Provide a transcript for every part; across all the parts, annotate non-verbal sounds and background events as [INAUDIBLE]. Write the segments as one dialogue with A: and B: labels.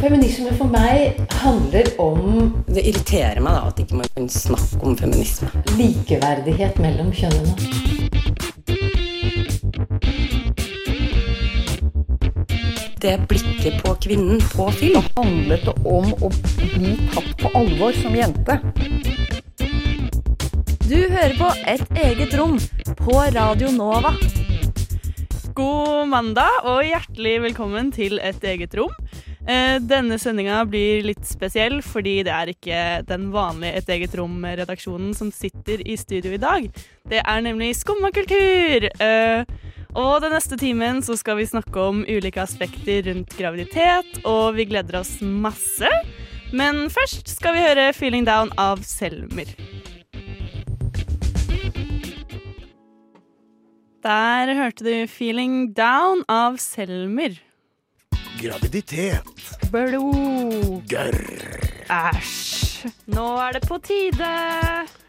A: Feminisme for meg handler om
B: Det irriterer meg da at ikke man kan snakke om feminisme.
A: likeverdighet mellom kjønnene.
B: Det blikket på kvinnen på film.
C: handlet det om å bli tatt på alvor som jente.
D: Du hører på Et eget rom på Radio Nova.
E: God mandag og hjertelig velkommen til Et eget rom. Eh, Denne sendinga blir litt spesiell fordi det er ikke den vanlige Et eget rom-redaksjonen som sitter i studio i dag. Det er nemlig Skumma kultur! Eh, Og den neste timen så skal vi snakke om ulike aspekter rundt graviditet, og vi gleder oss masse. Men først skal vi høre 'Feeling Down' av Selmer. Der hørte du 'Feeling Down' av Selmer.
F: Graviditet.
E: Blod.
F: Gørr.
E: Æsj. Nå er det på tide.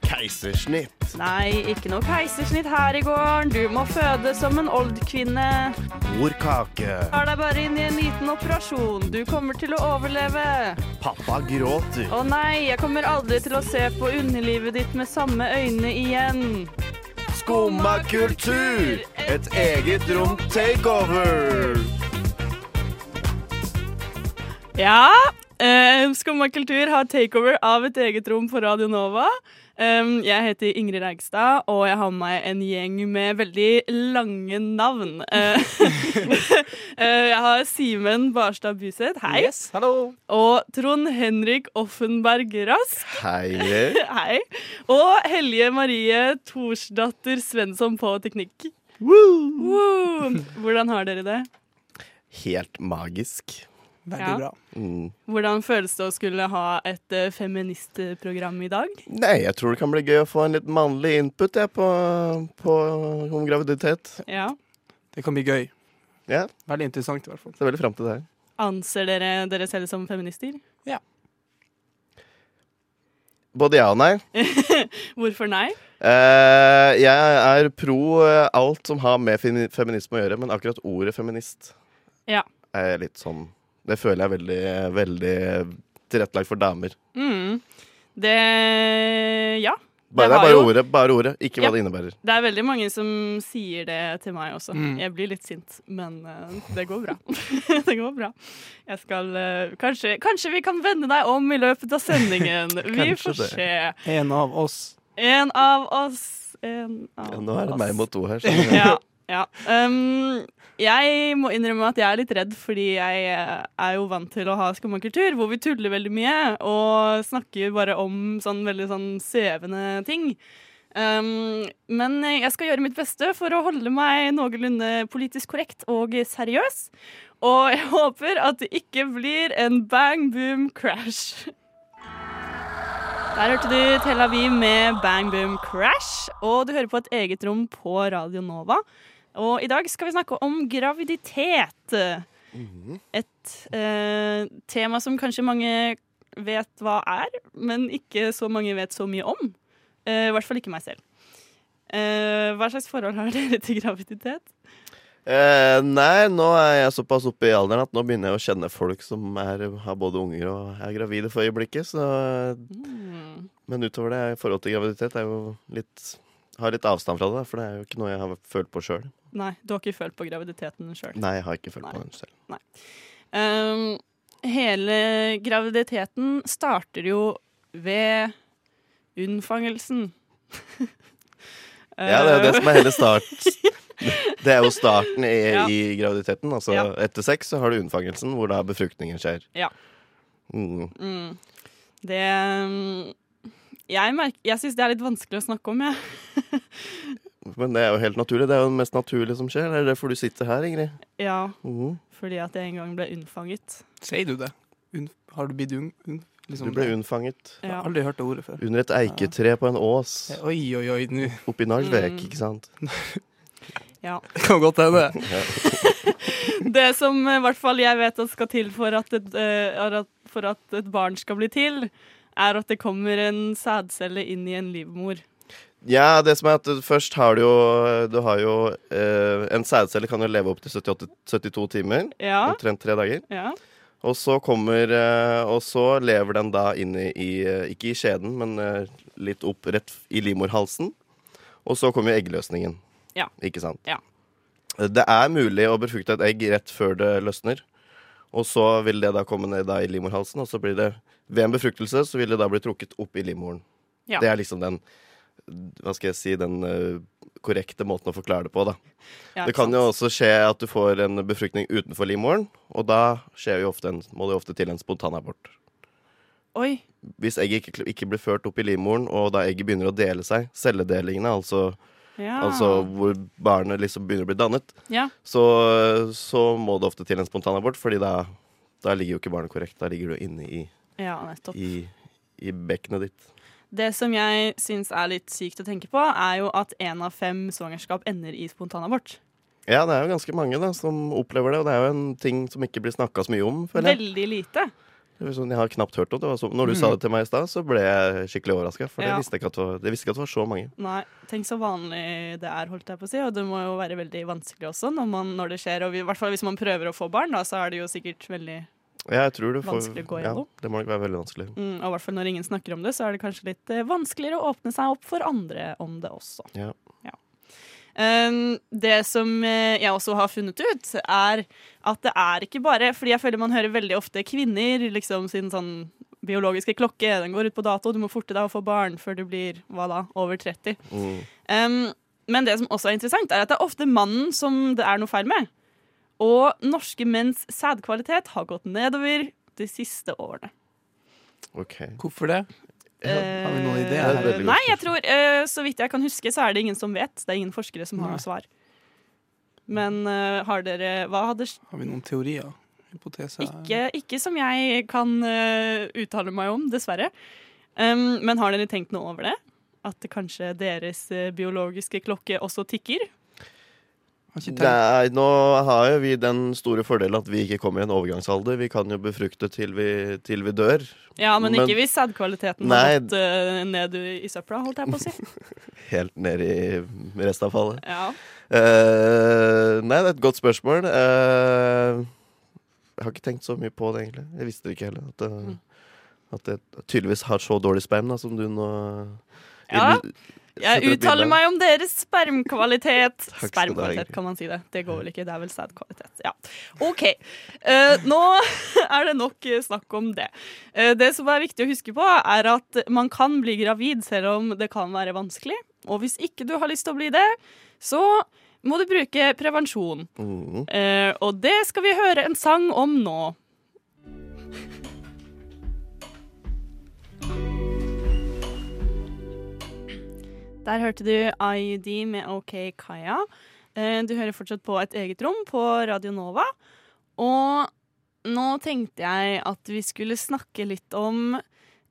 F: Keisersnitt.
E: Nei, ikke noe keisersnitt her i gården. Du må føde som en oldkvinne.
F: Bordkake.
E: Tar deg bare inn i en liten operasjon. Du kommer til å overleve.
F: Pappa gråter.
E: Å nei, jeg kommer aldri til å se på underlivet ditt med samme øyne igjen.
F: Skumma kultur. Et eget rom takeover.
E: Ja, eh, Skumma kultur har takeover av et eget rom på Radio Nova. Um, jeg heter Ingrid Reigstad, og jeg har med meg en gjeng med veldig lange navn. Eh, [LAUGHS] eh, jeg har Simen Barstad Buseth, hei.
G: Yes, hallo.
E: Og Trond Henrik Offenberg Rask,
F: Hei.
E: hei. Og Helje Marie Thorsdatter Svensson på teknikk. Woo! Hvordan har dere det?
F: Helt magisk.
G: Veldig
E: Ja.
G: bra.
F: Mm.
E: Hvordan føles det å skulle ha et eh, feministprogram i dag?
F: Nei, jeg tror det kan bli gøy å få en litt mannlig input jeg, på, på, om graviditet.
E: Ja.
G: Det kan bli gøy.
F: Ja,
G: Veldig interessant, i hvert fall.
F: ser veldig fram til det her.
E: Anser dere dere selv som feminister?
F: Både ja og nei.
E: Hvorfor nei?
F: Eh, jeg er pro eh, alt som har med femi- feminisme å gjøre, men akkurat ordet feminist
E: Ja.
F: er litt sånn Det føler jeg er veldig, veldig tilrettelagt for damer.
E: Mm. Det Ja.
F: Bare,
E: Det
F: det
E: har
F: er bare
E: jo-
F: ordet, bare ordet, ikke
E: Ja.
F: hva det innebærer.
E: Det er veldig mange som sier det til meg også.
G: Mm.
E: Jeg blir litt sint, men eh, det går bra. [LAUGHS] det går bra. Jeg skal eh, kanskje, kanskje vi kan vende deg om i løpet av
F: [LAUGHS]
E: sendingen. vi
F: Kanskje
E: får
F: det.
E: se.
G: En av oss.
E: En av oss. En av
F: Ja, nå er det
E: oss.
F: meg mot to her.
E: [LAUGHS] ja, ja. Um, jeg må innrømme at jeg er litt redd, fordi jeg eh, er jo vant til å ha Skumma kultur, hvor vi tuller veldig mye og snakker bare om sånn veldig sånn svevende ting. Um, men jeg skal gjøre mitt beste for å holde meg noenlunde politisk korrekt og seriøs. Og jeg håper at det ikke blir en bang boom crash. Der hørte du Tel Aviv med Bang Boom Crash, og du hører på et eget rom på Radio Nova. Og i dag skal vi snakke om graviditet. Et eh, tema som kanskje mange vet hva er, men ikke så mange vet så mye om. Eh, I hvert fall ikke meg selv. Eh, hva slags forhold har dere til graviditet?
F: Eh, nei, nå er jeg såpass oppe i alderen at nå begynner jeg å kjenne folk som er, har både unger og er gravide for øyeblikket. Så, Men utover det, forholdet til graviditet er jo litt har litt avstand fra det, da, for det er jo ikke noe jeg har følt på sjøl.
E: Nei, du har ikke følt på graviditeten sjøl.
F: Nei, jeg har ikke følt
E: Nei.
F: på den selv.
E: Um, hele graviditeten starter jo ved unnfangelsen.
F: Ja, det er jo
E: [LAUGHS]
F: det som er hele start. Det er jo starten i,
E: Ja.
F: i graviditeten. Altså,
E: Ja.
F: Etter sex så har du unnfangelsen, hvor da befruktningen skjer.
E: Ja.
F: Mm.
E: Mm. Det um, Jeg, merk- jeg syns det er litt vanskelig å snakke om, jeg.
F: Men det er jo helt naturlig. Det er jo det mest naturlige som skjer. Det er derfor du sitter her, Ingrid.
E: Ja,
F: Mhm.
E: fordi at jeg en gang ble unnfanget.
G: Sier du det? Un har du blitt ung? Un liksom,
F: Du ble unnfanget
G: Jeg
E: Ja.
G: har aldri hørt det ordet før. Eh,
F: under et eiketre på en ås
G: Oi, oi, oi, nå [LAUGHS]
F: oppi Narvek,
E: Mm.
F: ikke sant?
E: ja.
G: Det kan godt hende.
E: Det som eh, i hvert fall jeg vet at skal til for at et, eh, er at, for at et barn skal bli til, er at det kommer en sædcelle inn i en livmor.
F: Ja, det som er at du først har du jo Du har jo eh, En sædcelle kan jo leve opptil 78 72 timer.
E: Ja,
F: Omtrent tre dager.
E: ja.
F: Og så kommer eh, Og så lever den da inne i eh, Ikke i skjeden, men eh, litt opp rett i livmorhalsen. Og så kommer jo eggløsningen.
E: Ja.
F: Ikke sant? Eh,
E: Ja.
F: Det er mulig å befrukte et egg rett før det løsner. Og så vil det da komme ned da i livmorhalsen, og så blir det Ved en befruktelse så vil det da bli trukket opp i livmoren.
E: Ja.
F: Det er liksom den Hva skal jeg si Den eh, korrekte måten å forklare det på, da.
E: Ja,
F: Det kan
E: sant.
F: jo også skje at du får en befruktning utenfor livmoren, og da skjer jo ofte en, må det jo ofte til en spontanabort.
E: Oi.
F: Hvis egget ikke, ikke blir ført opp i livmoren, og da egget begynner å dele seg, celledelingene, altså,
E: Ja.
F: altså hvor barnet liksom begynner å bli dannet,
E: ja.
F: så, så må det ofte til en spontanabort, fordi da, da ligger jo ikke barnet korrekt. Da ligger du inne i,
E: ja, nettopp.
F: i, i bekkenet ditt.
E: Det som jeg syns er litt sykt å tenke på, er jo at én av fem svangerskap ender i spontanabort.
F: Ja, det er jo ganske mange da, som opplever det, og det er jo en ting som ikke blir snakka så mye om, føler jeg.
E: Veldig lite.
F: Det var sånn, Jeg har knapt hørt om det. det. Var så, når du sa det til meg i stad, så ble jeg skikkelig overraska. For
E: Mm. Ja.
F: jeg, visste ikke at det var, jeg visste ikke at det var så mange.
E: Nei, tenk så vanlig det er, holdt jeg på å si. Og det må jo være veldig vanskelig også når, man, når det skjer. Og vi, i hvert fall hvis man prøver å få barn, da, så er det jo sikkert veldig
F: Jeg tror du får,
E: Vanskelig å gå gjennom.
F: Ja, det må nok være veldig vanskelig.
E: mm, Og i hvert fall når ingen snakker om det, så er det kanskje litt eh, vanskeligere å åpne seg opp for andre om det også.
F: Ja.
E: Um, det som eh, jeg også har funnet ut, er at det er ikke bare Fordi jeg føler man hører veldig ofte kvinner liksom sin sånn biologiske klokke, den går ut på dato, du må forte deg å få barn før du blir hva da, over 30.
F: Mm.
E: Um, men det som også er interessant, er at det er ofte mannen som det er noe feil med. Og norske menns sædkvalitet har gått nedover de siste årene.
F: OK.
G: Hvorfor det?
E: Eh,
G: Har vi noen idé?
F: Det er et veldig godt
E: Nei, jeg tror, eh, så vidt jeg kan huske, så er det ingen som vet. Det er ingen forskere som har
G: Nei.
E: noe svar. Men eh, har dere Hva hadde s-
G: Har vi noen teorier? Hypoteser?
E: ikke, ikke som jeg kan eh, uttale meg om, dessverre. Um, men har dere tenkt noe over det? At det kanskje deres eh, biologiske klokke også tikker?
G: Har ikke tenkt.
F: Nei, nå har jo vi den store fordelen at vi ikke kommer i en overgangsalder. Vi kan jo befrukte til vi, til vi dør.
E: Ja, men,
F: Men-
E: ikke hvis sædkvaliteten
F: Nei.
E: har gått eh, ned i søpla, holdt jeg på å si.
F: [LAUGHS] Helt ned i restavfallet.
E: Ja.
F: Eh, nei, det er et godt spørsmål. Eh, jeg har ikke tenkt så mye på det, egentlig. Jeg visste det ikke heller. At, det-
E: Mm.
F: at jeg tydeligvis har så dårlig sperm da, som du nå
E: Ja,
F: Illu- setter
E: Jeg
F: et bilde
E: uttaler
F: av.
E: meg om deres spermkvalitet.
F: skal du ha,
E: Spermkvalitet,
F: Ingrid.
E: kan man si det. Det går vel ikke, det er vel sædkvalitet. Ja.
F: [LAUGHS]
E: OK. Eh, nå [LAUGHS] er det nok eh, snakk om det. Eh, det som er viktig å huske på, er at man kan bli gravid selv om det kan være vanskelig. Og hvis ikke du har lyst til å bli det, så må du bruke prevensjon.
F: Mhm.
E: Eh, og det skal vi høre en sang om nå. Der hørte du IUD med OK Kaya. Eh, Du hører fortsatt på et eget rom på Radio Nova. Og nå tenkte jeg at vi skulle snakke litt om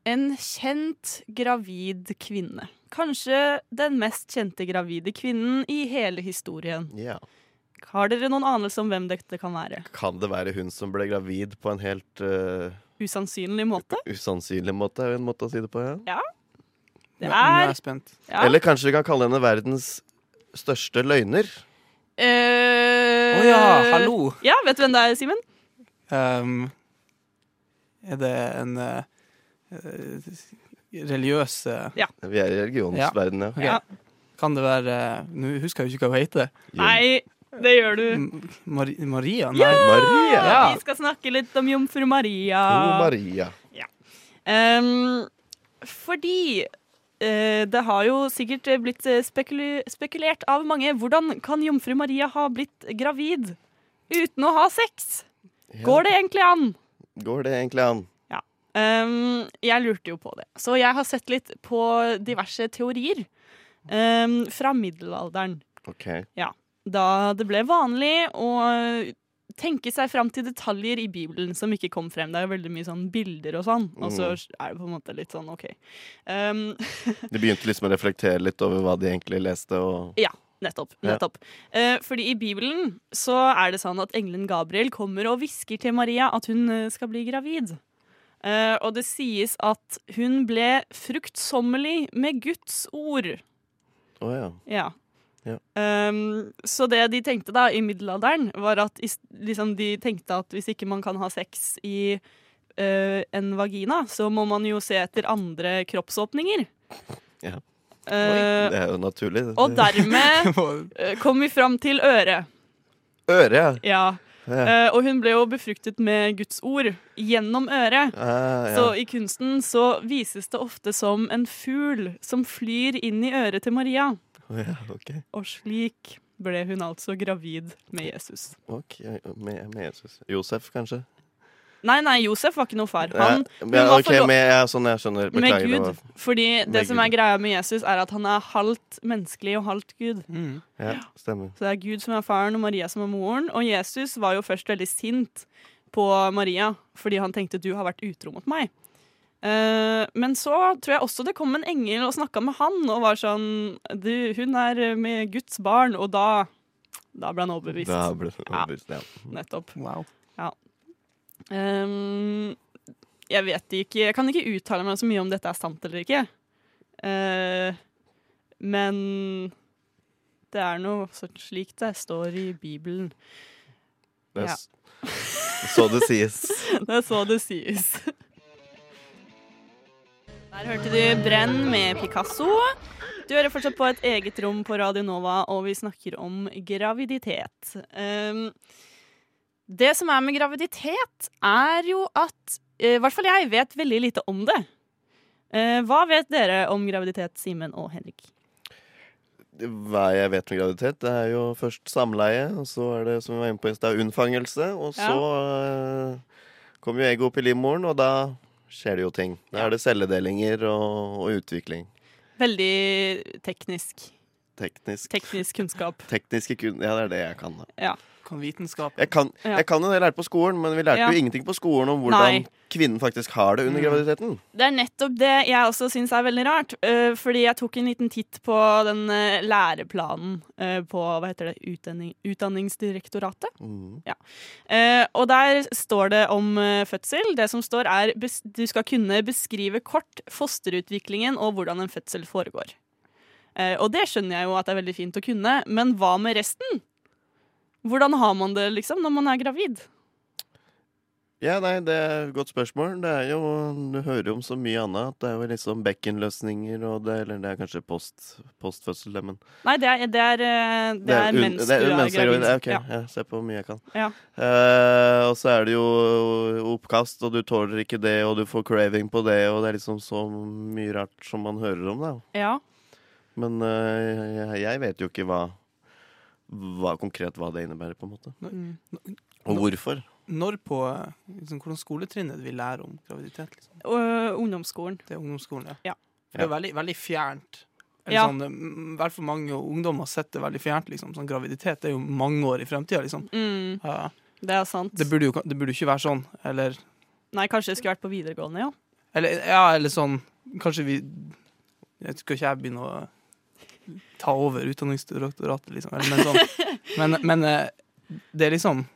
E: en kjent gravid kvinne. Kanskje den mest kjente gravide kvinnen i hele historien.
F: Ja.
E: Har dere noen anelse om hvem dette kan være?
F: Kan det være hun som ble gravid på en helt eh,
E: Usannsynlig måte?
F: usannsynlig måte? Er jo en måte å si det på, ja.
E: Det
G: Ja, Nå er
E: er
G: jeg spent.
E: ja.
F: Eller kanskje vi kan kalle henne verdens største løgner?
G: Å
E: Eh,
G: ja, hallo!
E: Ja, vet du hvem det er, Simen?
G: Ehm, er det en eh, eh, religiøs eh,
F: Vi er i
G: Ja.
F: religionsverdenen, ja.
G: ok.
E: Ja.
G: Kan det være eh, Nå husker jeg jo ikke hva hun heter.
E: Nei, det gjør du.
G: M- Mari Maria? Nei.
F: Ja! Maria!
G: Ja.
E: Vi skal snakke litt om jomfru Maria.
F: Oh, Maria.
E: Ehm, fordi eh, det har jo sikkert blitt spekulu spekulert av mange. Hvordan kan jomfru Maria ha blitt gravid uten å ha sex?
F: Ja.
E: Går det egentlig an?
F: Går det egentlig an?
E: Ehm, jeg lurte jo på det. Så jeg har sett litt på diverse teorier ehm, fra middelalderen.
F: OK.
E: Da det ble vanlig å tenke seg fram til detaljer i Bibelen som ikke kom frem. Det er jo veldig mye sånn bilder og sånn, og så er det på en måte litt sånn OK. Ehm,
F: De begynte liksom å reflektere litt over hva de egentlig leste, og
E: Nettopp.
F: Ja.
E: nettopp. Eh, fordi i Bibelen så er det sånn at engelen Gabriel kommer og hvisker til Maria at hun eh, skal bli gravid. Eh, og det sies at hun ble fruktsommelig med Guds ord.
F: Å ja.
E: Ja.
F: Ja.
E: Um, så det de tenkte da i middelalderen, var at is- liksom, de tenkte at hvis ikke man kan ha sex i eh, en vagina, så må man jo se etter andre kroppsåpninger.
F: Ja.
E: Eh,
F: Det er jo naturlig. det.
E: og
G: [LAUGHS]
E: dermed
G: Og-
E: eh, kom vi fram til øret.
F: Øre,
E: Ja.
F: ja. Ja.
E: Eh, og hun ble jo befruktet med Guds ord gjennom øret.
F: Ah, ja.
E: Så i kunsten så vises det ofte som en fugl som flyr inn i øret til Maria.
F: Å, ja, ok.
E: Og slik ble hun altså gravid med Jesus.
F: Ok, Med, med Jesus. Josef, kanskje?
E: Nei, nei, Josef var ikke noe far. Han
F: ja,
E: hun
F: men,
E: var
F: ok,
E: forlo-
F: med, ja, sånn jeg skjønner.
E: med
F: Beklager. det var-
E: Gud. Fordi det
F: Med
E: som
F: Gud.
E: er greia med Jesus, er at han er halvt menneskelig og halvt Gud.
G: Mm.
F: Ja, stemmer.
E: Så det er Gud som er faren, og Maria som er moren. Og Jesus var jo først veldig sint på Maria fordi han tenkte 'du har vært utro mot meg'. Eh, men så tror jeg også det kom en engel og snakka med han og var sånn du, 'Hun er med Guds barn', og da, da ble han overbevist.
F: Da ble det
E: Ja.
F: overbevist, ja.
E: Nettopp.
G: Wow.
E: Ehm, jeg vet ikke Jeg kan ikke uttale meg så mye om dette er sant eller ikke. Eh, men det er noe sånn slik det står i Bibelen.
F: Det er
E: Ja.
F: s- Så det sies.
E: Det er så det sies. Der hørte du 'Brenn' med Picasso. Du hører fortsatt på et eget rom på Radio Nova, og vi snakker om graviditet. Um, det som er med graviditet, er jo at eh, I hvert fall jeg vet veldig lite om det. Eh, hva vet dere om graviditet, Simen og Henrik?
F: Hva jeg vet med graviditet, det er jo først samleie, og så er det som vi var inne på i stad, unnfangelse. Og så eh, kommer jo egget opp i livmoren, og da skjer det jo ting. Da er det celledelinger og, og utvikling.
E: Veldig teknisk.
F: Teknisk.
E: Teknisk kunnskap.
F: Tekniske kun... Ja, det er det jeg kan. da
G: Kan vitenskap
F: Jeg kan,
E: Ja.
F: jeg kan jo det jeg lærte på skolen, men vi lærte
E: Ja.
F: jo ingenting på skolen om hvordan
E: Nei.
F: kvinnen faktisk har det under
G: Mm.
F: graviditeten.
E: Det er nettopp det jeg også syns er veldig rart. eh, fordi jeg tok en liten titt på den eh, læreplanen eh, på hva heter det, Utdanning, Utdanningsdirektoratet.
F: Mm.
E: Eh, og der står det om eh, fødsel. Det som står, er bes du skal kunne beskrive kort fosterutviklingen og hvordan en fødsel foregår. Eh, og det skjønner jeg jo at det er veldig fint å kunne, men hva med resten? Hvordan har man det liksom når man er gravid?
F: Ja, nei, det er et godt spørsmål. Det er jo, Du hører jo om så mye annet. at Det er jo liksom bekkenløsninger og det, Eller det er kanskje post, postfødsel, det, men
E: Nei, det er, det er, eh, det er
F: un-
E: mens
F: det er
E: du er
F: mens jeg
E: gravid.
F: Ja, ok,
E: Ja.
F: ja. Se på hvor mye jeg kan.
E: Ja.
F: Eh, og så er det jo oppkast, og du tåler ikke det, og du får craving på det, og det er liksom så mye rart som man hører om, da.
E: ja.
F: Men eh, jeg, jeg vet jo ikke hva, hva konkret hva det innebærer, på en måte.
E: Mm.
F: Og hvorfor.
G: Når på eh, liksom, hvordan skoletrinnet er det vi lærer om graviditet? Liksom?
E: Ø, ungdomsskolen.
G: Det er ungdomsskolen, ja.
E: Ja.
G: Det er veldig, veldig fjernt. Eller
E: Ja.
G: Sånn, eh, I hvert fall mange ungdommer setter det veldig fjernt. Liksom. Sånn, graviditet er jo mange år i fremtida. Liksom.
E: Mm,
G: Ja.
E: det er sant.
G: det, burde jo, det burde jo ikke være sånn. Eller,
E: Nei, kanskje det skulle vært på videregående, ja.
G: eller, ja, eller sånn Kanskje vi jeg Skal ikke jeg begynne å ta over Utdanningsdirektoratet, liksom? Eller, men sånn. men, men eh, det er liksom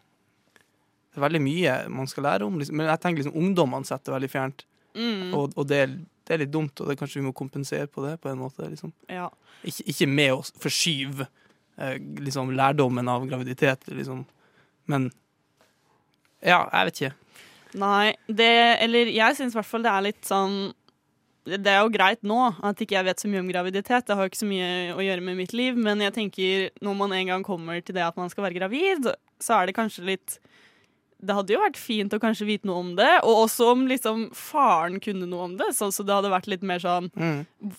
G: Det er veldig mye man skal lære om. Liksom. Men jeg tenker liksom ungdommene setter det veldig fjernt.
E: Mm,
G: Og, og det, er, det er litt dumt, og det kanskje vi må kompensere på det på en måte. Liksom.
E: ja.
G: Ikke, ikke med å forskyve eh, liksom, lærdommen av graviditet, liksom. Men ja, jeg vet ikke.
E: Nei, det Eller jeg syns i hvert fall det er litt sånn det det er jo greit nå at ikke jeg vet så mye om graviditet. Det har jo ikke så mye å gjøre med mitt liv, men jeg tenker når man en gang kommer til det at man skal være gravid, så er det kanskje litt Det hadde jo vært fint å kanskje vite noe om det, og også om liksom faren kunne noe om det, sånn så det hadde vært litt mer sånn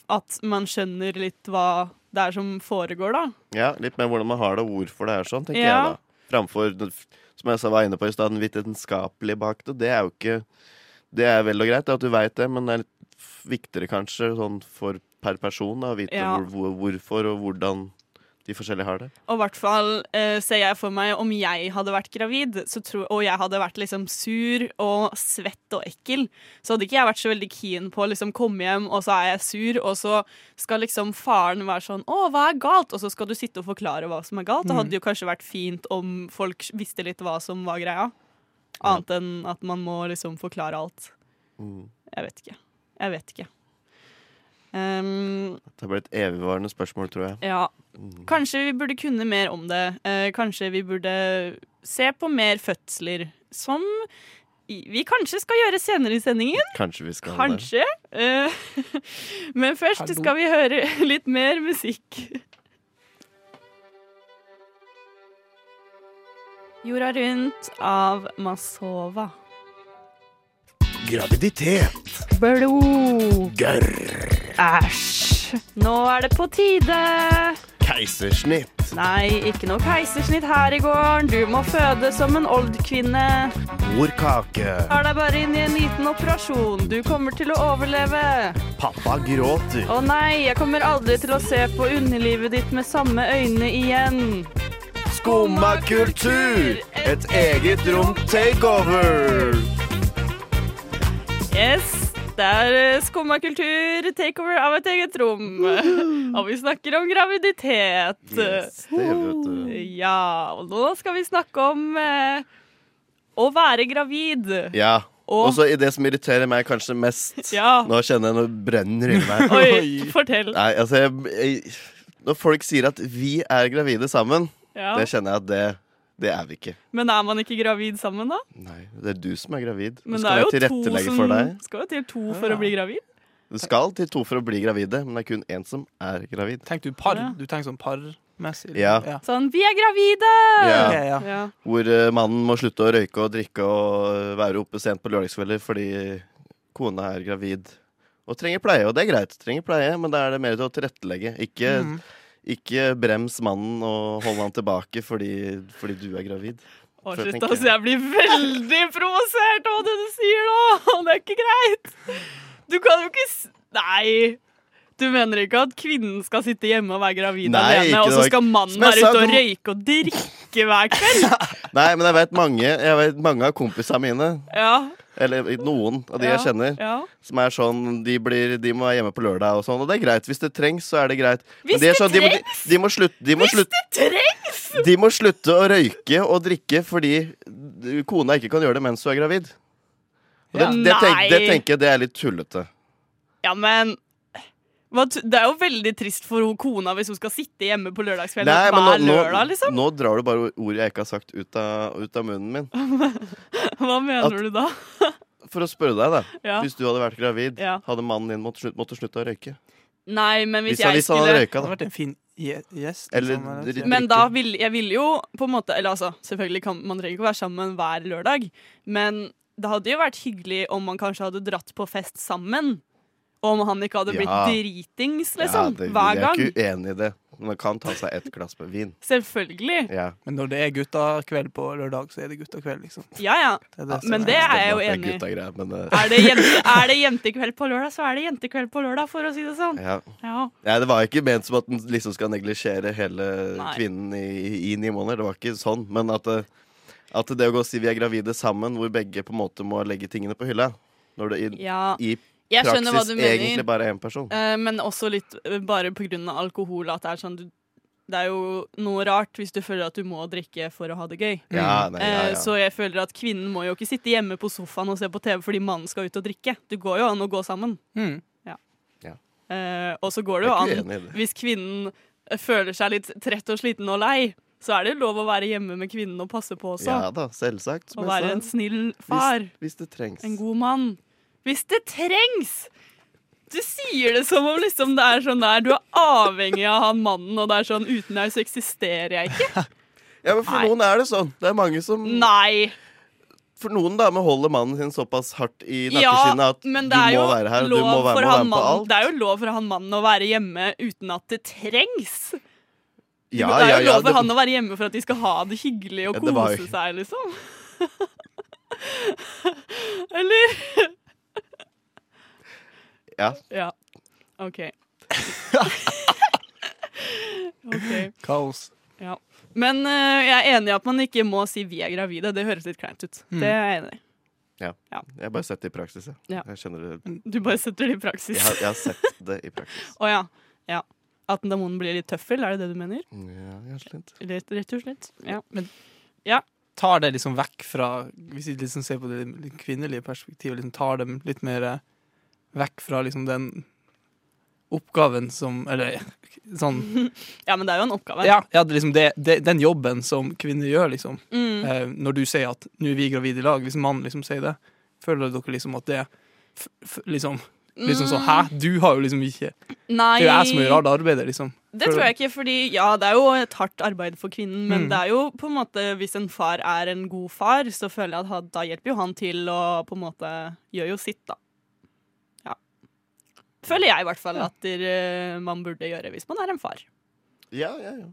E: at man skjønner litt hva det er som foregår, da.
F: Ja, Litt mer hvordan man har det, og hvorfor det er sånn, tenker
E: Ja.
F: jeg da. Framfor, den f- som jeg sa var inne på i stad, den vitenskapelige bak det. Det er jo ikke Det er vel og greit det at du veit det, men det er litt f- viktigere kanskje sånn for per person da, å vite
E: Ja.
F: hvor, hvor, hvorfor og hvordan de forskjellige har det.
E: Og i hvert fall eh, ser jeg for meg om jeg hadde vært gravid, så tro, og jeg hadde vært liksom sur og svett og ekkel, så hadde ikke jeg vært så veldig keen på å liksom komme hjem, og så er jeg sur, og så skal liksom faren være sånn 'Å, hva er galt?' Og så skal du sitte og forklare hva som er galt. Det hadde jo kanskje vært fint om folk visste litt hva som var greia, annet enn at man må liksom forklare alt.
F: Mm.
E: Jeg vet ikke. Jeg vet ikke. Ehm,
F: Det ble et evigvarende spørsmål, tror jeg.
E: ja.
F: Mm.
E: Kanskje vi burde kunne mer om det. Eh, kanskje vi burde se på mer fødsler. Som i- vi kanskje skal gjøre senere i sendingen.
F: Kanskje vi skal det.
E: Kanskje. Eh, [LAUGHS] men først
G: Hallo.
E: skal vi høre [LAUGHS] litt mer musikk. Jorda rundt av Masova.
H: Graviditet.
C: Blod.
E: Æsj! Nå er det på tide!
F: Keisersnitt.
E: Nei, ikke noe keisersnitt her i gården. Du må føde som en oldkvinne.
H: Morkake.
E: Tar deg bare inn i en liten operasjon. Du kommer til å overleve.
H: Pappa gråter.
E: Å nei, jeg kommer aldri til å se på underlivet ditt med samme øyne igjen.
H: Skumma kultur. Et eget rom takeover.
E: Yes, det er skumma kultur, takeover av et eget rom. [LAUGHS] Og vi snakker om graviditet.
F: Yes, det vet du.
E: Ja, og nå skal vi snakke om eh, å være gravid.
F: Ja.
E: Og-
F: Og så i det som irriterer meg kanskje mest
E: Ja.
F: Nå kjenner jeg noe brenner inni meg.
E: [LAUGHS] [LAUGHS] Oi, fortell.
F: Nei, altså jeg, jeg, Når folk sier at vi er gravide sammen,
E: Ja.
F: det kjenner jeg at det, det er vi ikke.
E: Men er man ikke gravid sammen, da?
F: Nei, Det er du som er gravid. Du
E: Men det
F: skal
E: er jo
F: jeg
E: to
F: tilrettelegge
E: som
F: for deg.
E: skal jo til to for å bli gravid.
F: Du skal til to for å bli gravide, men det er kun én som er gravid.
G: Tenkte du par?
E: Ja.
G: Du tenker sånn parmessig?
F: Ja.
E: Sånn 'vi er gravide'!
F: Ja.
G: Ok, ja.
E: Ja.
F: Hvor eh, mannen må slutte å røyke og drikke og være oppe sent på lørdagskvelder fordi kona er gravid og trenger pleie. Og det er greit, trenger pleie, men da er det mer til å tilrettelegge. Ikke,
G: Mm.
F: ikke brems mannen og hold han tilbake fordi, fordi du er gravid.
E: Å,
F: For jeg
E: slutt,
F: tenker-
E: altså. Jeg blir veldig
F: [LAUGHS]
E: provosert av det du sier nå! [LAUGHS] Det er ikke greit! Du kan jo ikke s... Nei! Du mener ikke at kvinnen skal sitte hjemme og være gravid
F: Nei,
E: alene,
F: ikke
E: og så
F: det.
E: skal mannen
F: Som jeg
E: være
F: sa,
E: ute
F: du
E: og
F: må-
E: røyke og drikke hver
F: [LAUGHS]
E: kveld?
F: Nei, men jeg vet mange, jeg vet mange av kompisene mine,
E: Ja,
F: eller noen av de
E: Ja,
F: jeg kjenner,
E: ja.
F: som er sånn De, blir, de må være hjemme på lørdag og sånn, og det er greit. Hvis det trengs, så er det greit. Men
E: Hvis
F: de er
E: det
F: sånn, de må- de- De må slutte, de må
E: Hvis
F: slutte
E: det trengs!
F: De må slutte å røyke og drikke fordi kona ikke kan gjøre det mens hun er gravid. Og det,
E: Ja.
F: det, tenk, det
E: Nei.
F: tenker jeg det er litt tullete.
E: Ja, men hva t- det er jo veldig trist for hun kona hvis hun skal sitte hjemme på lørdagskvelden
F: Nei, men
E: hver
F: nå, nå,
E: lørdag, liksom.
F: nå drar du bare ord jeg ikke har sagt, ut av, ut av munnen min.
E: Hva mener
F: At-
E: du da?
F: For å spørre deg, da.
E: Ja.
F: Hvis du hadde vært gravid,
E: Ja.
F: hadde mannen din måtte, slutt- måtte slutte å røyke?
E: Nei, men hvis,
F: Hvis, han,
E: jeg
F: hvis han hadde
E: skulle
G: Det
F: røyka,
G: hadde
F: da.
G: vært en fin gje- gjest.
F: Eller
G: liksom,
F: dri-
G: eller-
E: Men da vil jeg ville jo på en måte Eller altså, selvfølgelig kan man trenger ikke å være sammen hver lørdag, men det hadde jo vært hyggelig om man kanskje hadde dratt på fest sammen. Og om han ikke hadde blitt
F: Ja.
E: dritings,
F: Ja,
E: liksom.
F: det,
E: hver
F: jeg er
E: gang.
F: ikke uenig i det. Man kan ta seg et glass med vin.
E: Selvfølgelig.
F: Ja.
G: Men når det er guttakveld på lørdag, så er det guttakveld, liksom.
E: Ja ja.
G: Det er det som
E: Men det er jeg jo
F: at
E: enig i.
F: guttagreier, men, eh,
E: Er det, jente, er det jentekveld på lørdag, så er det jentekveld på lørdag, for å si det sånn.
F: ja.
E: Ja.
F: Nei, det var ikke ment som at den liksom skal neglisjere hele
E: Nei.
F: kvinnen i, i ni måneder. Det var ikke sånn. Men at, det- at det å gå og si vi er gravide sammen, hvor begge på en måte må legge tingene på hylla Når det i,
E: ja.
F: i
E: Jeg skjønner hva
F: praksis
E: du
F: egentlig
E: mener.
F: bare er én person.
E: Eh, men også litt eh, bare på grunn av alkohol. At det er sånn du, Det er jo noe rart hvis du føler at du må drikke for å ha det gøy.
F: Ja, nei, ja,
E: Eh,
F: ja.
E: Så jeg føler at kvinnen må jo ikke sitte hjemme på sofaen og se på TV fordi mannen skal ut og drikke. Det går jo an å gå sammen.
G: Mm.
E: Eh, og så går det jo
F: Jeg er ikke
E: an,
F: enig i det.
E: hvis kvinnen eh, føler seg litt trett og sliten og lei, så er det jo lov å være hjemme med kvinnen og passe på også.
F: Ja da, selvsagt. som
E: og
F: jeg
E: være en
F: sa.
E: snill far.
F: Hvis, hvis det trengs.
E: En god mann. Hvis det trengs! Du sier det som om liksom det er sånn der, du er avhengig av han mannen, og det er sånn uten deg så eksisterer jeg ikke.
F: Ja, men For
E: Nei.
F: noen er det sånn. Det er mange som
E: Nei!
F: For noen damer holder mannen sin såpass hardt i
E: Ja,
F: nakkeskinnet at du
E: men
F: må
E: det er jo
F: være her, og du
E: lov
F: må være
E: for
F: med, og være
E: han
F: med på
E: mannen-
F: alt.
E: Det er jo lov for han mannen å være hjemme uten at det trengs.
F: Ja,
E: det er jo
F: ja, ja,
E: lov for
F: det-
E: han å være hjemme for at de skal ha det hyggelig og
F: Ja,
E: kose
F: det var jo-
E: seg, liksom. [LAUGHS] Eller?
F: Ja.
E: Ja.
G: [LAUGHS]
E: OK. OK.
G: Kaos.
E: Men eh, jeg er enig i at man ikke må si 'vi er gravide'. Det høres litt kleint ut.
G: Mm.
E: Det er jeg enig i.
F: Jeg har bare sett det i praksis. Jeg,
E: Ja.
F: jeg
E: [LAUGHS]
F: skjønner det.
E: Du bare setter det i praksis.
F: Jeg
E: Å
F: har, jeg har sett det i praksis.
E: ja. ja. At demonen blir litt tøffel, er det det du mener?
F: Ja, kanskje litt.
E: Rett, rett og slett. Ja.
G: Tar det liksom vekk fra Hvis vi liksom ser på det litt kvinnelige perspektivet, liksom tar dem litt mer eh, vekk fra liksom den oppgaven som Eller sånn
E: Ja, men det er jo en oppgave.
G: Ja, ja det, er liksom det, det, den jobben som kvinner gjør, liksom.
E: Mm.
G: Eh, når du sier at 'nå er vi gravide i lag', hvis en mann liksom sier det, føler dere liksom at det f f liksom, liksom sånn 'hæ, du har jo liksom ikke
E: Mm. Nei,
G: Det er jo jeg som gjør alt arbeidet', liksom.
E: Det tror jeg ikke, fordi ja, det er jo et hardt arbeid for kvinnen, men
G: Mm.
E: det er jo på en måte Hvis en far er en god far, så føler jeg at han, da hjelper jo han til og på en måte gjør jo sitt, da. Ja. Føler jeg i hvert fall at eh, man burde gjøre hvis man er en far.
F: Ja, ja, ja.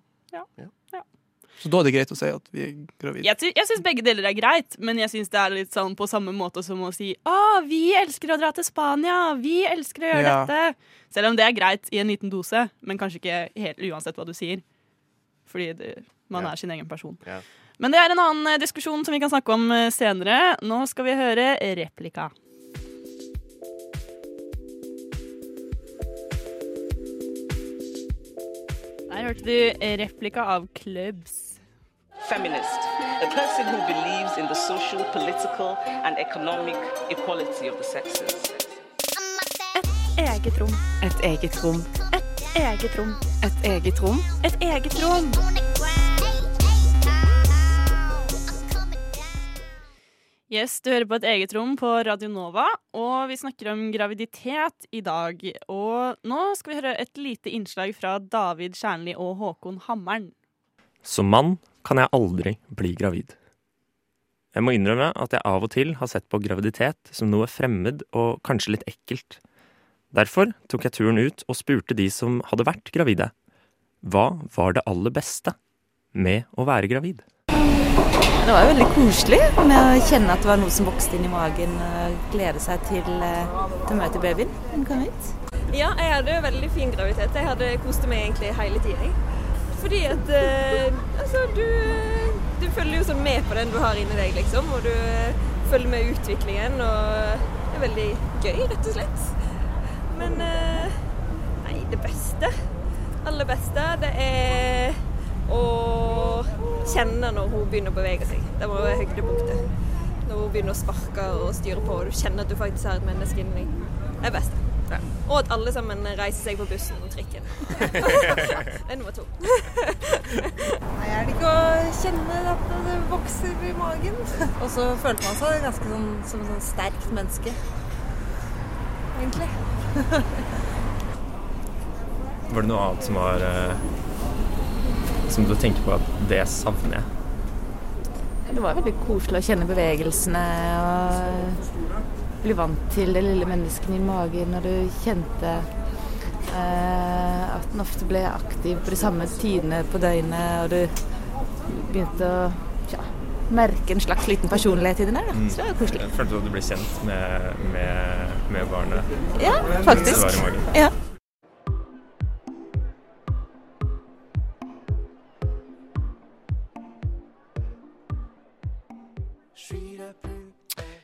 G: Så da er det greit å si at vi er gravide.
E: Jeg, sy jeg syns begge deler er greit, men jeg syns det er litt sånn på samme måte som å si Å, vi elsker å dra til Spania! Vi elsker å gjøre
G: Ja.
E: dette! Selv om det er greit i en liten dose, men kanskje ikke helt uansett hva du sier. Fordi det, man
F: Ja.
E: er sin egen person.
F: Ja.
E: Men det er en annen eh, diskusjon som vi kan snakke om eh, senere. Nå skal vi høre replika. Der hørte du replika av Clubs.
I: feminist, a person who believes in the social, political, and economic equality of the sexes.
D: Eget rom.
B: Et eget rom.
D: Eget rom.
B: Et eget rom.
D: Et eget rom.
E: Yes, du hører på et eget rom på Radio Nova, og vi snakker om graviditet i dag. Og nå skal vi høre et lite innslag fra David Kjernli og Håkon Hammeren.
J: Som mann kan jeg aldri bli gravid. Jeg må innrømme at jeg av og til har sett på graviditet som noe fremmed og kanskje litt ekkelt. Derfor tok jeg turen ut og spurte de som hadde vært gravide. Hva var det aller beste med å være gravid?
D: Det var jo veldig koselig med å kjenne at det var noe som vokste inn i magen, og glede seg til, eh, til å møte babyen når den kom ut.
K: Ja, jeg hadde jo veldig fin graviditet. Jeg hadde kost meg egentlig hele tiden. jeg. Fordi at eh, altså, du, eh, du følger jo sånn med på den du har inni deg, liksom. Og du eh, følger med i utviklingen, og det er veldig gøy, rett og slett. Men eh, nei, det beste, aller beste, det er å kjenne når hun begynner å bevege seg. Det må være høydepunktet. Når hun begynner å sparke og styre på, og du kjenner at du faktisk er et menneske inni deg. Det er best. Og at alle sammen reiser seg på bussen og trikken. det er nummer to.
C: Nei, er det ikke å kjenne at det vokser i magen? Og så følte man seg ganske sånn, som et sånn sterkt menneske. Egentlig.
J: Var det noe annet som var eh, Som du tenker på at det savner jeg?
C: Det var veldig koselig å kjenne bevegelsene og bli vant til det lille mennesket i magen når du kjente eh, at den ofte ble aktiv på de samme tidene på døgnet, og du begynte å tja, merke en slags liten personlighet i den der. da. Så det var koselig.
J: Følte du at du ble kjent med, barnet?
C: Ja, faktisk. Ja.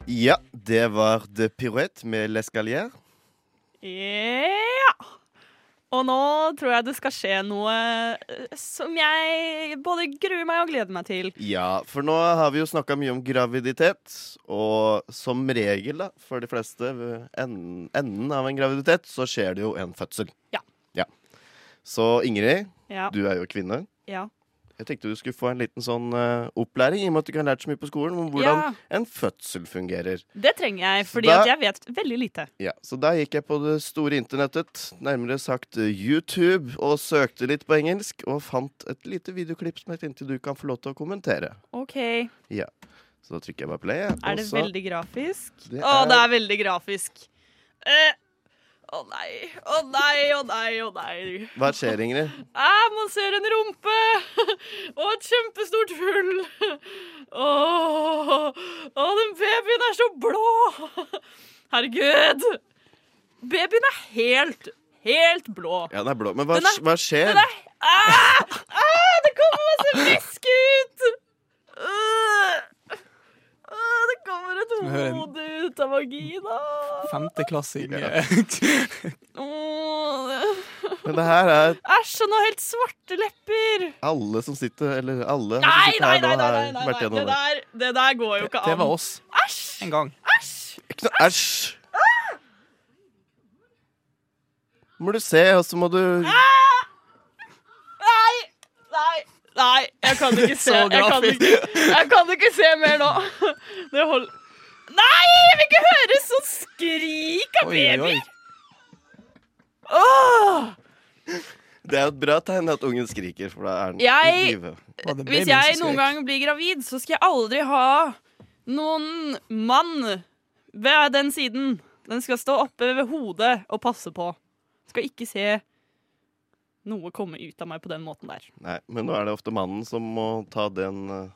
F: Ja, det var The Pirouette med L'Escalier.
E: Ja! Og nå tror jeg det skal skje noe eh, som jeg både gruer meg og gleder meg til.
F: Ja, for nå har vi jo snakka mye om graviditet, og som regel, da, for de fleste, ved enden, enden av en graviditet, så skjer det jo en fødsel.
E: Ja.
F: Så Ingrid,
E: Ja.
F: du er jo kvinne.
E: ja.
F: Jeg tenkte du skulle få en liten sånn eh, opplæring, i og med at du ikke har lært så mye på skolen, om hvordan
E: Ja.
F: en fødsel fungerer.
E: Det trenger jeg, fordi
F: Da-
E: at jeg vet veldig lite.
F: Ja, Så da gikk jeg på det store internettet, nærmere sagt eh, YouTube, og søkte litt på engelsk, og fant et lite videoklipp som jeg tenkte du kan få lov til å kommentere.
E: OK.
F: Så da trykker jeg bare play.
E: Er det veldig grafisk?
F: Det
E: Å,
F: er-
E: det er veldig grafisk. Eh, Å nei, å nei, å nei, å nei.
F: Hva skjer, Ingrid?
E: Ah, man ser en rumpe [LAUGHS] og et kjempestort hull. Åh, åh, den babyen er så blå. Herregud. Babyen er helt, helt blå.
F: Ja, den er blå. Men hva,
E: Den er-
F: hva skjer?
E: Den er ah, ah, Det kommer masse fisk ut! Øh, øh, det kommer et
G: Skal vi høre en-
E: hode ut av vagina.
G: Femteklassing.
F: Ja.
G: [LAUGHS]
E: Åh,
F: Men det her er
E: Æsj, han har helt svarte lepper.
F: alle som sitter Eller alle som
E: Nei,
F: sitter
E: nei,
F: her nå
E: nei, nei, nei,
F: har
E: nei,
F: vært
E: nei. Det,
F: gjennom
E: der, det der går jo ikke
G: Det var
E: an.
G: oss. En gang.
F: Ikke noe- Æsj! må du se, og så må du
E: Nei! Nei! Nei, jeg kan ikke se.
F: [LAUGHS] Så
E: Jeg kan
F: grafisk.
E: ikke, jeg kan ikke se mer nå. Det hold... Nei! Jeg vil ikke høre sånn skrik av babyer! Åh!
F: Det er jo et bra tegn at ungen skriker, for da er den i
E: Jeg-
F: live.
E: Hvis jeg noen gang blir gravid, så skal jeg aldri ha noen mann ved den siden. Den skal stå oppe ved hodet og passe på. Skal ikke se noe komme ut av meg på den måten der.
F: Nei, men nå er det ofte mannen som må ta den eh,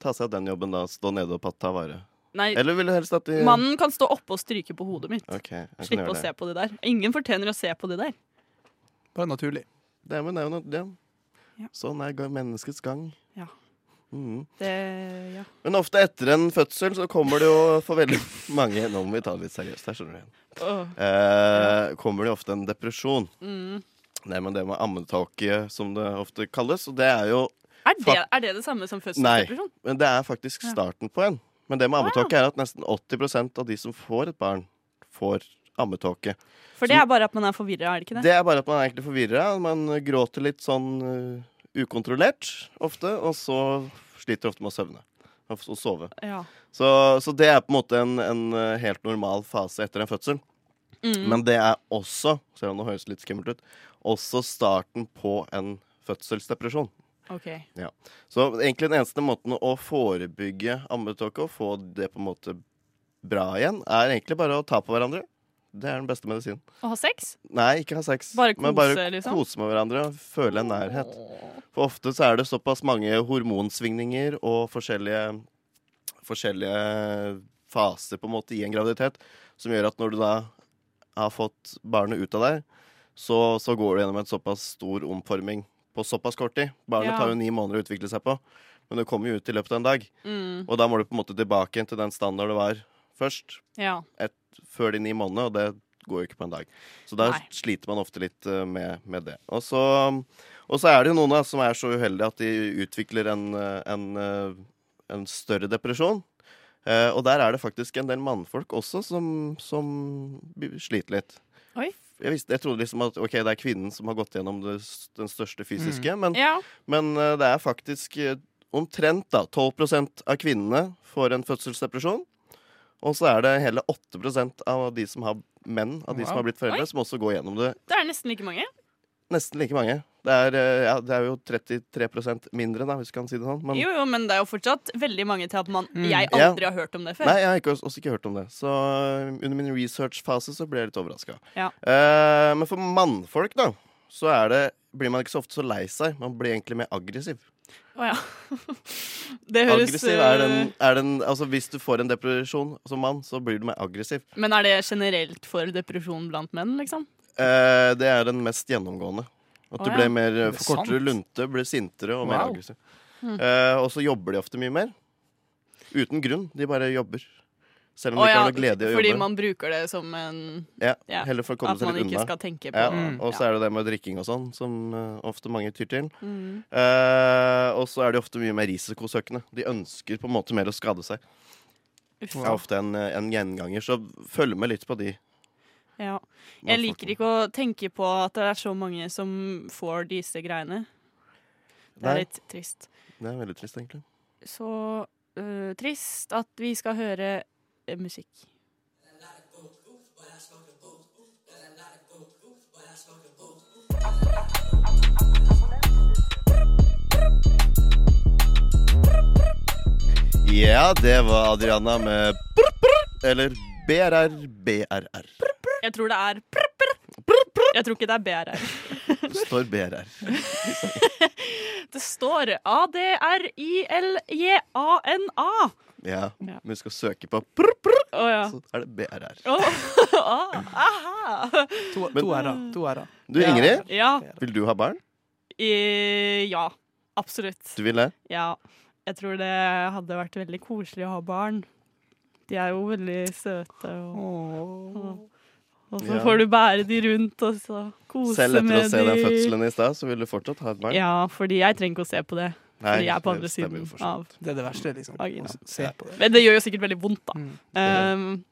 F: Ta seg av den jobben, da. Stå nede og pa- ta vare.
E: Nei,
F: Eller vil du helst at de
E: Mannen kan stå oppe og stryke på hodet mitt.
F: Ok, jeg kan
E: Slippe
F: gjøre
E: å
F: det.
E: se på det der. Ingen fortjener å se på det der.
G: Bare naturlig.
F: Det er, men det er jo noe,
E: Ja.
F: Sånn er ga- menneskets gang.
E: Ja.
F: Mhm.
E: Det, ja.
F: Men ofte etter en fødsel så kommer det jo for veldig mange Nå må vi ta det litt seriøst her, skjønner du.
E: Åh.
F: Eh, kommer det jo ofte en depresjon.
E: Mm.
F: Nei, men det med ammetåke, som det ofte kalles. Og det er jo
E: Er, det, er det det samme som
F: Nei,
E: fødselsdepresjon?
F: men det er faktisk
E: Ja.
F: starten på en. Men det med ammetåke er at nesten 80 av de som får et barn, får ammetåke.
E: For det er bare at man er forvirra, er det ikke det?
F: Det er bare at man er egentlig forvirra. Man gråter litt sånn eh, ukontrollert ofte, og så sliter ofte med å søvne og og sove.
E: Ja.
F: Så, så det er på en måte en, en eh, helt normal fase etter en fødsel.
E: Mm.
F: Men det er også, selv om det høres litt skummelt ut, også starten på en fødselsdepresjon.
E: Ok.
F: Ja. Så egentlig den eneste måten å forebygge ammetåke og få det på en måte bra igjen, er egentlig bare å ta på hverandre. Det er den beste medisinen.
E: Å ha sex?
F: Nei, ikke ha sex.
E: Bare
F: men
E: kose,
F: bare
E: liksom?
F: kose med hverandre og føle en nærhet. For ofte så er det såpass mange hormonsvingninger og forskjellige, forskjellige faser på en måte i en graviditet som gjør at når du da har fått barnet ut av deg, så, så går du gjennom en såpass stor omforming på såpass kort tid. Barnet
E: Ja.
F: tar jo ni måneder å utvikle seg på, men det kommer jo ut i løpet av en dag.
E: Mm.
F: Og da må du på en måte tilbake igjen til den standard du var først
E: Ja.
F: et, før de ni månedene, og det går jo ikke på en dag. Så da
E: Nei.
F: sliter man ofte litt eh, med, med det. Og så, og så er det jo noen da, som er så uheldige at de utvikler en, eh, en, eh, en større depresjon. Eh, og der er det faktisk en del mannfolk også som, som b- sliter litt.
E: Oi.
F: Jeg, visste, jeg trodde liksom at ok, det er kvinnen som har gått gjennom det, s- den største fysiske,
E: Mm.
F: men,
E: Ja.
F: men eh, det er faktisk eh, omtrent da, 12 av kvinnene får en fødselsdepresjon. Og så er det hele 8 av de som har menn, av de som
E: Wow.
F: har blitt foreldre,
E: Oi.
F: som også går gjennom det.
E: Det er nesten like mange.
F: Nesten like mange. Det er, eh, ja, det er jo 33 mindre, da, hvis du kan si det sånn. Men,
E: jo, jo, men det er jo fortsatt veldig mange til at man,
F: Mm.
E: jeg
F: Ja.
E: aldri har hørt om det før.
F: Nei, jeg har ikke, også ikke hørt om det. Så eh, under min researchfase så ble jeg litt overraska.
E: Ja.
F: Eh, men for mannfolk, da, så er det, blir man ikke så ofte så lei seg. Man blir egentlig mer aggressiv.
E: Å ja. [LAUGHS] Det høres
F: aggressiv er den,
E: øh,
F: er den, altså Hvis du får en depresjon som mann, så blir du mer aggressiv.
E: Men er det generelt for depresjon blant menn, liksom?
F: Eh, det er den mest gjennomgående. At du
E: Å, ja.
F: ble mer
E: Er det sant?
F: kortere lunte, ble sintere og mer
E: Wow.
F: aggressiv.
E: Hmm.
F: Eh, og så jobber de ofte mye mer. Uten grunn. De bare jobber. Selv om de
E: Å
F: ikke
E: ja,
F: har noe glede i å
E: fordi
F: jobbe.
E: man bruker det som en
F: Ja, heller for å komme
E: At
F: seg
E: man
F: litt
E: ikke
F: unna.
E: skal Mm. tenke på
F: ja. Og så er det det med drikking og sånn, som eh, ofte mange tyr til.
E: Mm.
F: Eh, og så er de ofte mye mer risikosøkende. De ønsker på en måte mer å skade seg.
E: Uff.
F: Det er ofte en, eh, en gjenganger, så følg med litt på de.
E: Ja. Jeg liker ikke å tenke på at det er så mange som får disse greiene. Det
F: Nei.
E: er litt trist.
F: Det er veldig trist, egentlig.
E: Så øh, trist at vi skal høre eh, musikk.
F: Ja, det var Adriana med brr, brr, Eller BRR, BRR.
E: Jeg tror det er prr, prr. Jeg tror ikke det er BRR.
F: Det står BRR.
E: Det står A-D-R-I-L-J-A-N-A.
F: Ja, men du skal søke på brr, brr, [LAUGHS] så er det BRR.
E: Åh, aha.
G: To,
F: Men-
G: to r-er. To r-er.
F: Du, Ingrid,
E: Ja.
F: vil du ha barn?
E: Eh, ja, absolutt.
F: Du vil det?
E: Ja. Jeg tror det hadde vært veldig koselig å ha barn. De er jo veldig søte. Og, og, og så
F: Ja.
E: får du bære de rundt og så kose
F: Selv etter å
E: med
F: se den
E: de.
F: fødselen i stad, så vil du fortsatt ha et barn?
E: Ja, fordi jeg trenger ikke å se på det.
F: Nei,
E: fordi jeg er på
F: det
E: andre
F: stemmer
E: siden
F: jo for så
E: av
G: Det Mm. er det verste, liksom.
E: vagina.
G: Å se på det.
E: Men det gjør jo sikkert veldig vondt, da. Um,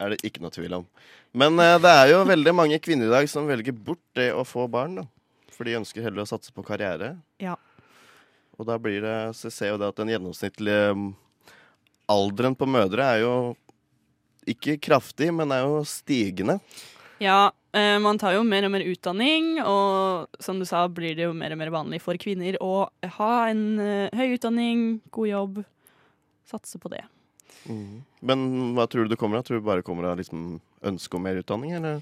F: er det ikke noe tvil om. Men eh, det er jo veldig mange kvinner i dag som velger bort det å få barn, da. For de ønsker heller å satse på karriere.
E: Ja.
F: Og da blir det Så jeg ser jo det at den gjennomsnittlige mm, alderen på mødre er jo ikke kraftig, men er jo stigende.
E: Ja, eh, man tar jo mer og mer utdanning, og som du sa, blir det jo mer og mer vanlig for kvinner å ha en eh, høy utdanning, god jobb, satse på det. Mm.
F: Men hva tror du det kommer av? Tror du det bare kommer av liksom ønske om mer utdanning, eller?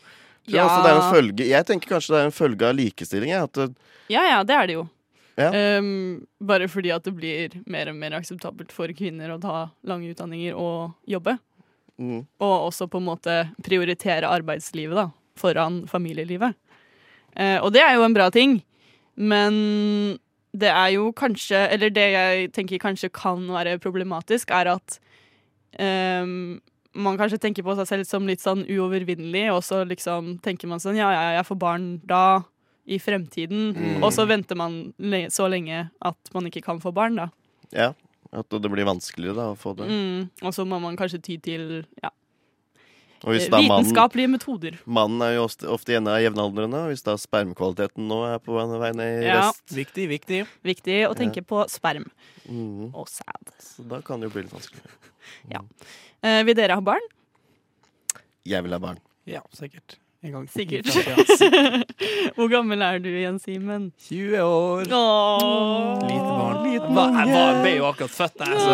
E: Ja.
F: Tror jeg, også det er en følge, jeg tenker kanskje det er en følge av likestilling. jeg, At det,
E: Ja, ja, det er det jo.
F: Ja.
E: Ehm, bare fordi at det blir mer og mer akseptabelt for kvinner å ta lange utdanninger og jobbe.
F: Mm.
E: Og også på en måte prioritere arbeidslivet da, foran familielivet. Eh, og det er jo en bra ting, men det er jo kanskje Eller det jeg tenker kanskje kan være problematisk, er at ehm, man kanskje tenker på seg selv som litt sånn uovervinnelig, og så liksom tenker man sånn ja, ja, jeg får barn da, i fremtiden,
F: Mm.
E: og så venter man le så lenge at man ikke kan få barn, da.
F: ja, at det blir vanskeligere da, å få det.
E: Mm, og så må man kanskje ty til ja,
F: Og hvis
E: eh,
F: da mannen-
E: vitenskapelige metoder.
F: Mannen er jo ofte, ofte igjen av jevnaldrende, og hvis da spermkvaliteten nå er på vei ned i
E: Ja.
F: rest
G: Viktig, viktig.
E: Viktig å tenke på sperm
F: Mhm.
E: og sæd.
F: Så da kan det jo bli litt vanskelig.
E: Ja. Eh, vil dere ha barn?
F: Jeg vil ha barn.
G: Ja, sikkert. En gang.
E: Sikkert. [LAUGHS]
G: I fremtiden.
E: Hvor gammel er du igjen, Simen?
G: 20 år.
E: Åh.
G: Lite barn. Hva- jeg var, ble jo akkurat født, jeg. Så.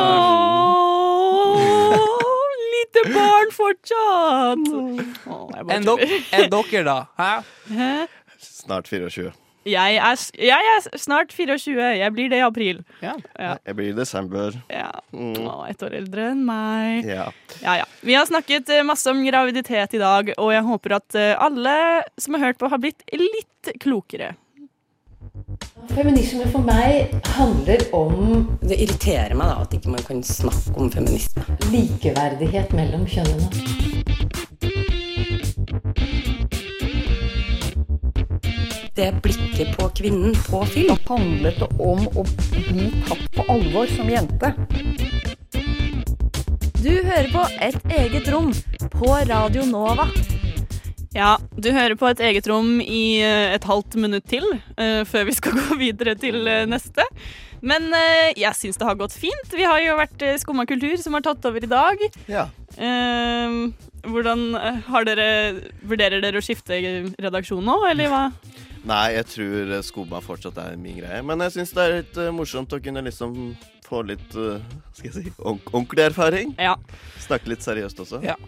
E: Åh, lite barn fortsatt! Åh, jeg bare
G: Enn dere,
E: tuller.
G: enn dere, da? Hæ?
E: Hæ?
F: Snart 24.
E: Jeg er, s- jeg er s- snart 24. Jeg blir det i april.
G: Ja.
E: Ja.
F: Jeg blir i desember. Mm.
E: Åh, ett år eldre enn meg.
F: Ja.
E: Ja, ja. Vi har snakket eh, masse om graviditet i dag, og jeg håper at eh, alle som har hørt på, har blitt litt klokere.
A: Feminisme for meg handler om
B: Det irriterer meg da at ikke man kan snakke om feminisme.
A: likeverdighet mellom kjønnene.
B: Det blikket på kvinnen på film.
L: Da handlet det om å bli tatt på alvor som jente.
M: Du hører på Et eget rom på Radio Nova.
E: Ja, du hører på et eget rom i eh, et halvt minutt til eh, før vi skal [LAUGHS] gå videre til eh, neste. Men eh, jeg syns det har gått fint. Vi har jo vært eh, Skumma kultur som har tatt over i dag.
F: Ja.
E: Eh, hvordan eh, har dere Vurderer dere å skifte eh, redaksjon nå, eller hva?
F: Nei, jeg tror eh, skoba fortsatt er min greie. Men jeg syns det er litt eh, morsomt å kunne liksom få litt eh, skal jeg si, ord- ordentlig erfaring.
E: Ja.
F: Snakke litt seriøst også.
G: Ja.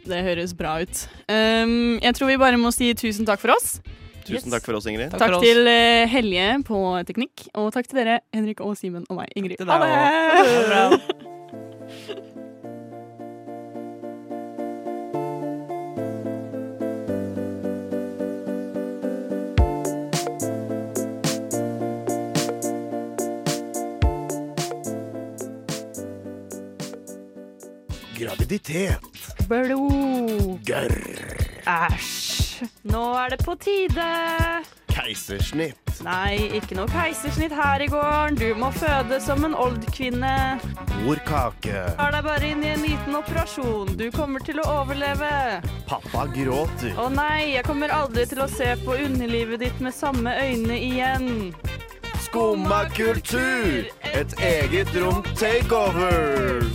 E: Det høres bra ut. Um, jeg tror vi bare må si tusen takk for oss.
F: Tusen takk for oss, Ingrid.
E: Takk, til eh, Helje på teknikk, og takk til dere, Henrik og Simen og meg, Ingrid.
F: til deg
E: Ha
F: også. Ha
E: det!
F: det
H: Graviditet.
E: Blod.
H: Gørr.
E: Æsj. Nå er det på tide.
H: Keisersnitt.
E: Nei, ikke noe keisersnitt her i gården. Du må føde som en oldkvinne.
H: Morkake.
E: Tar deg bare inn i en liten operasjon. Du kommer til å overleve.
H: Pappa gråter.
E: Å nei, jeg kommer aldri til å se på underlivet ditt med samme øyne igjen.
H: Skumma kultur. Et eget rom takeover.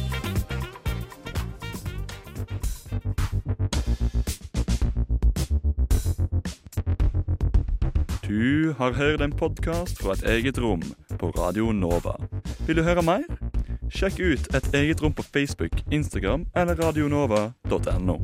N: Du har hørt en podkast fra et eget rom på Radio Nova. Vil du høre mer? Sjekk ut et eget rom på Facebook, Instagram eller radionova.no.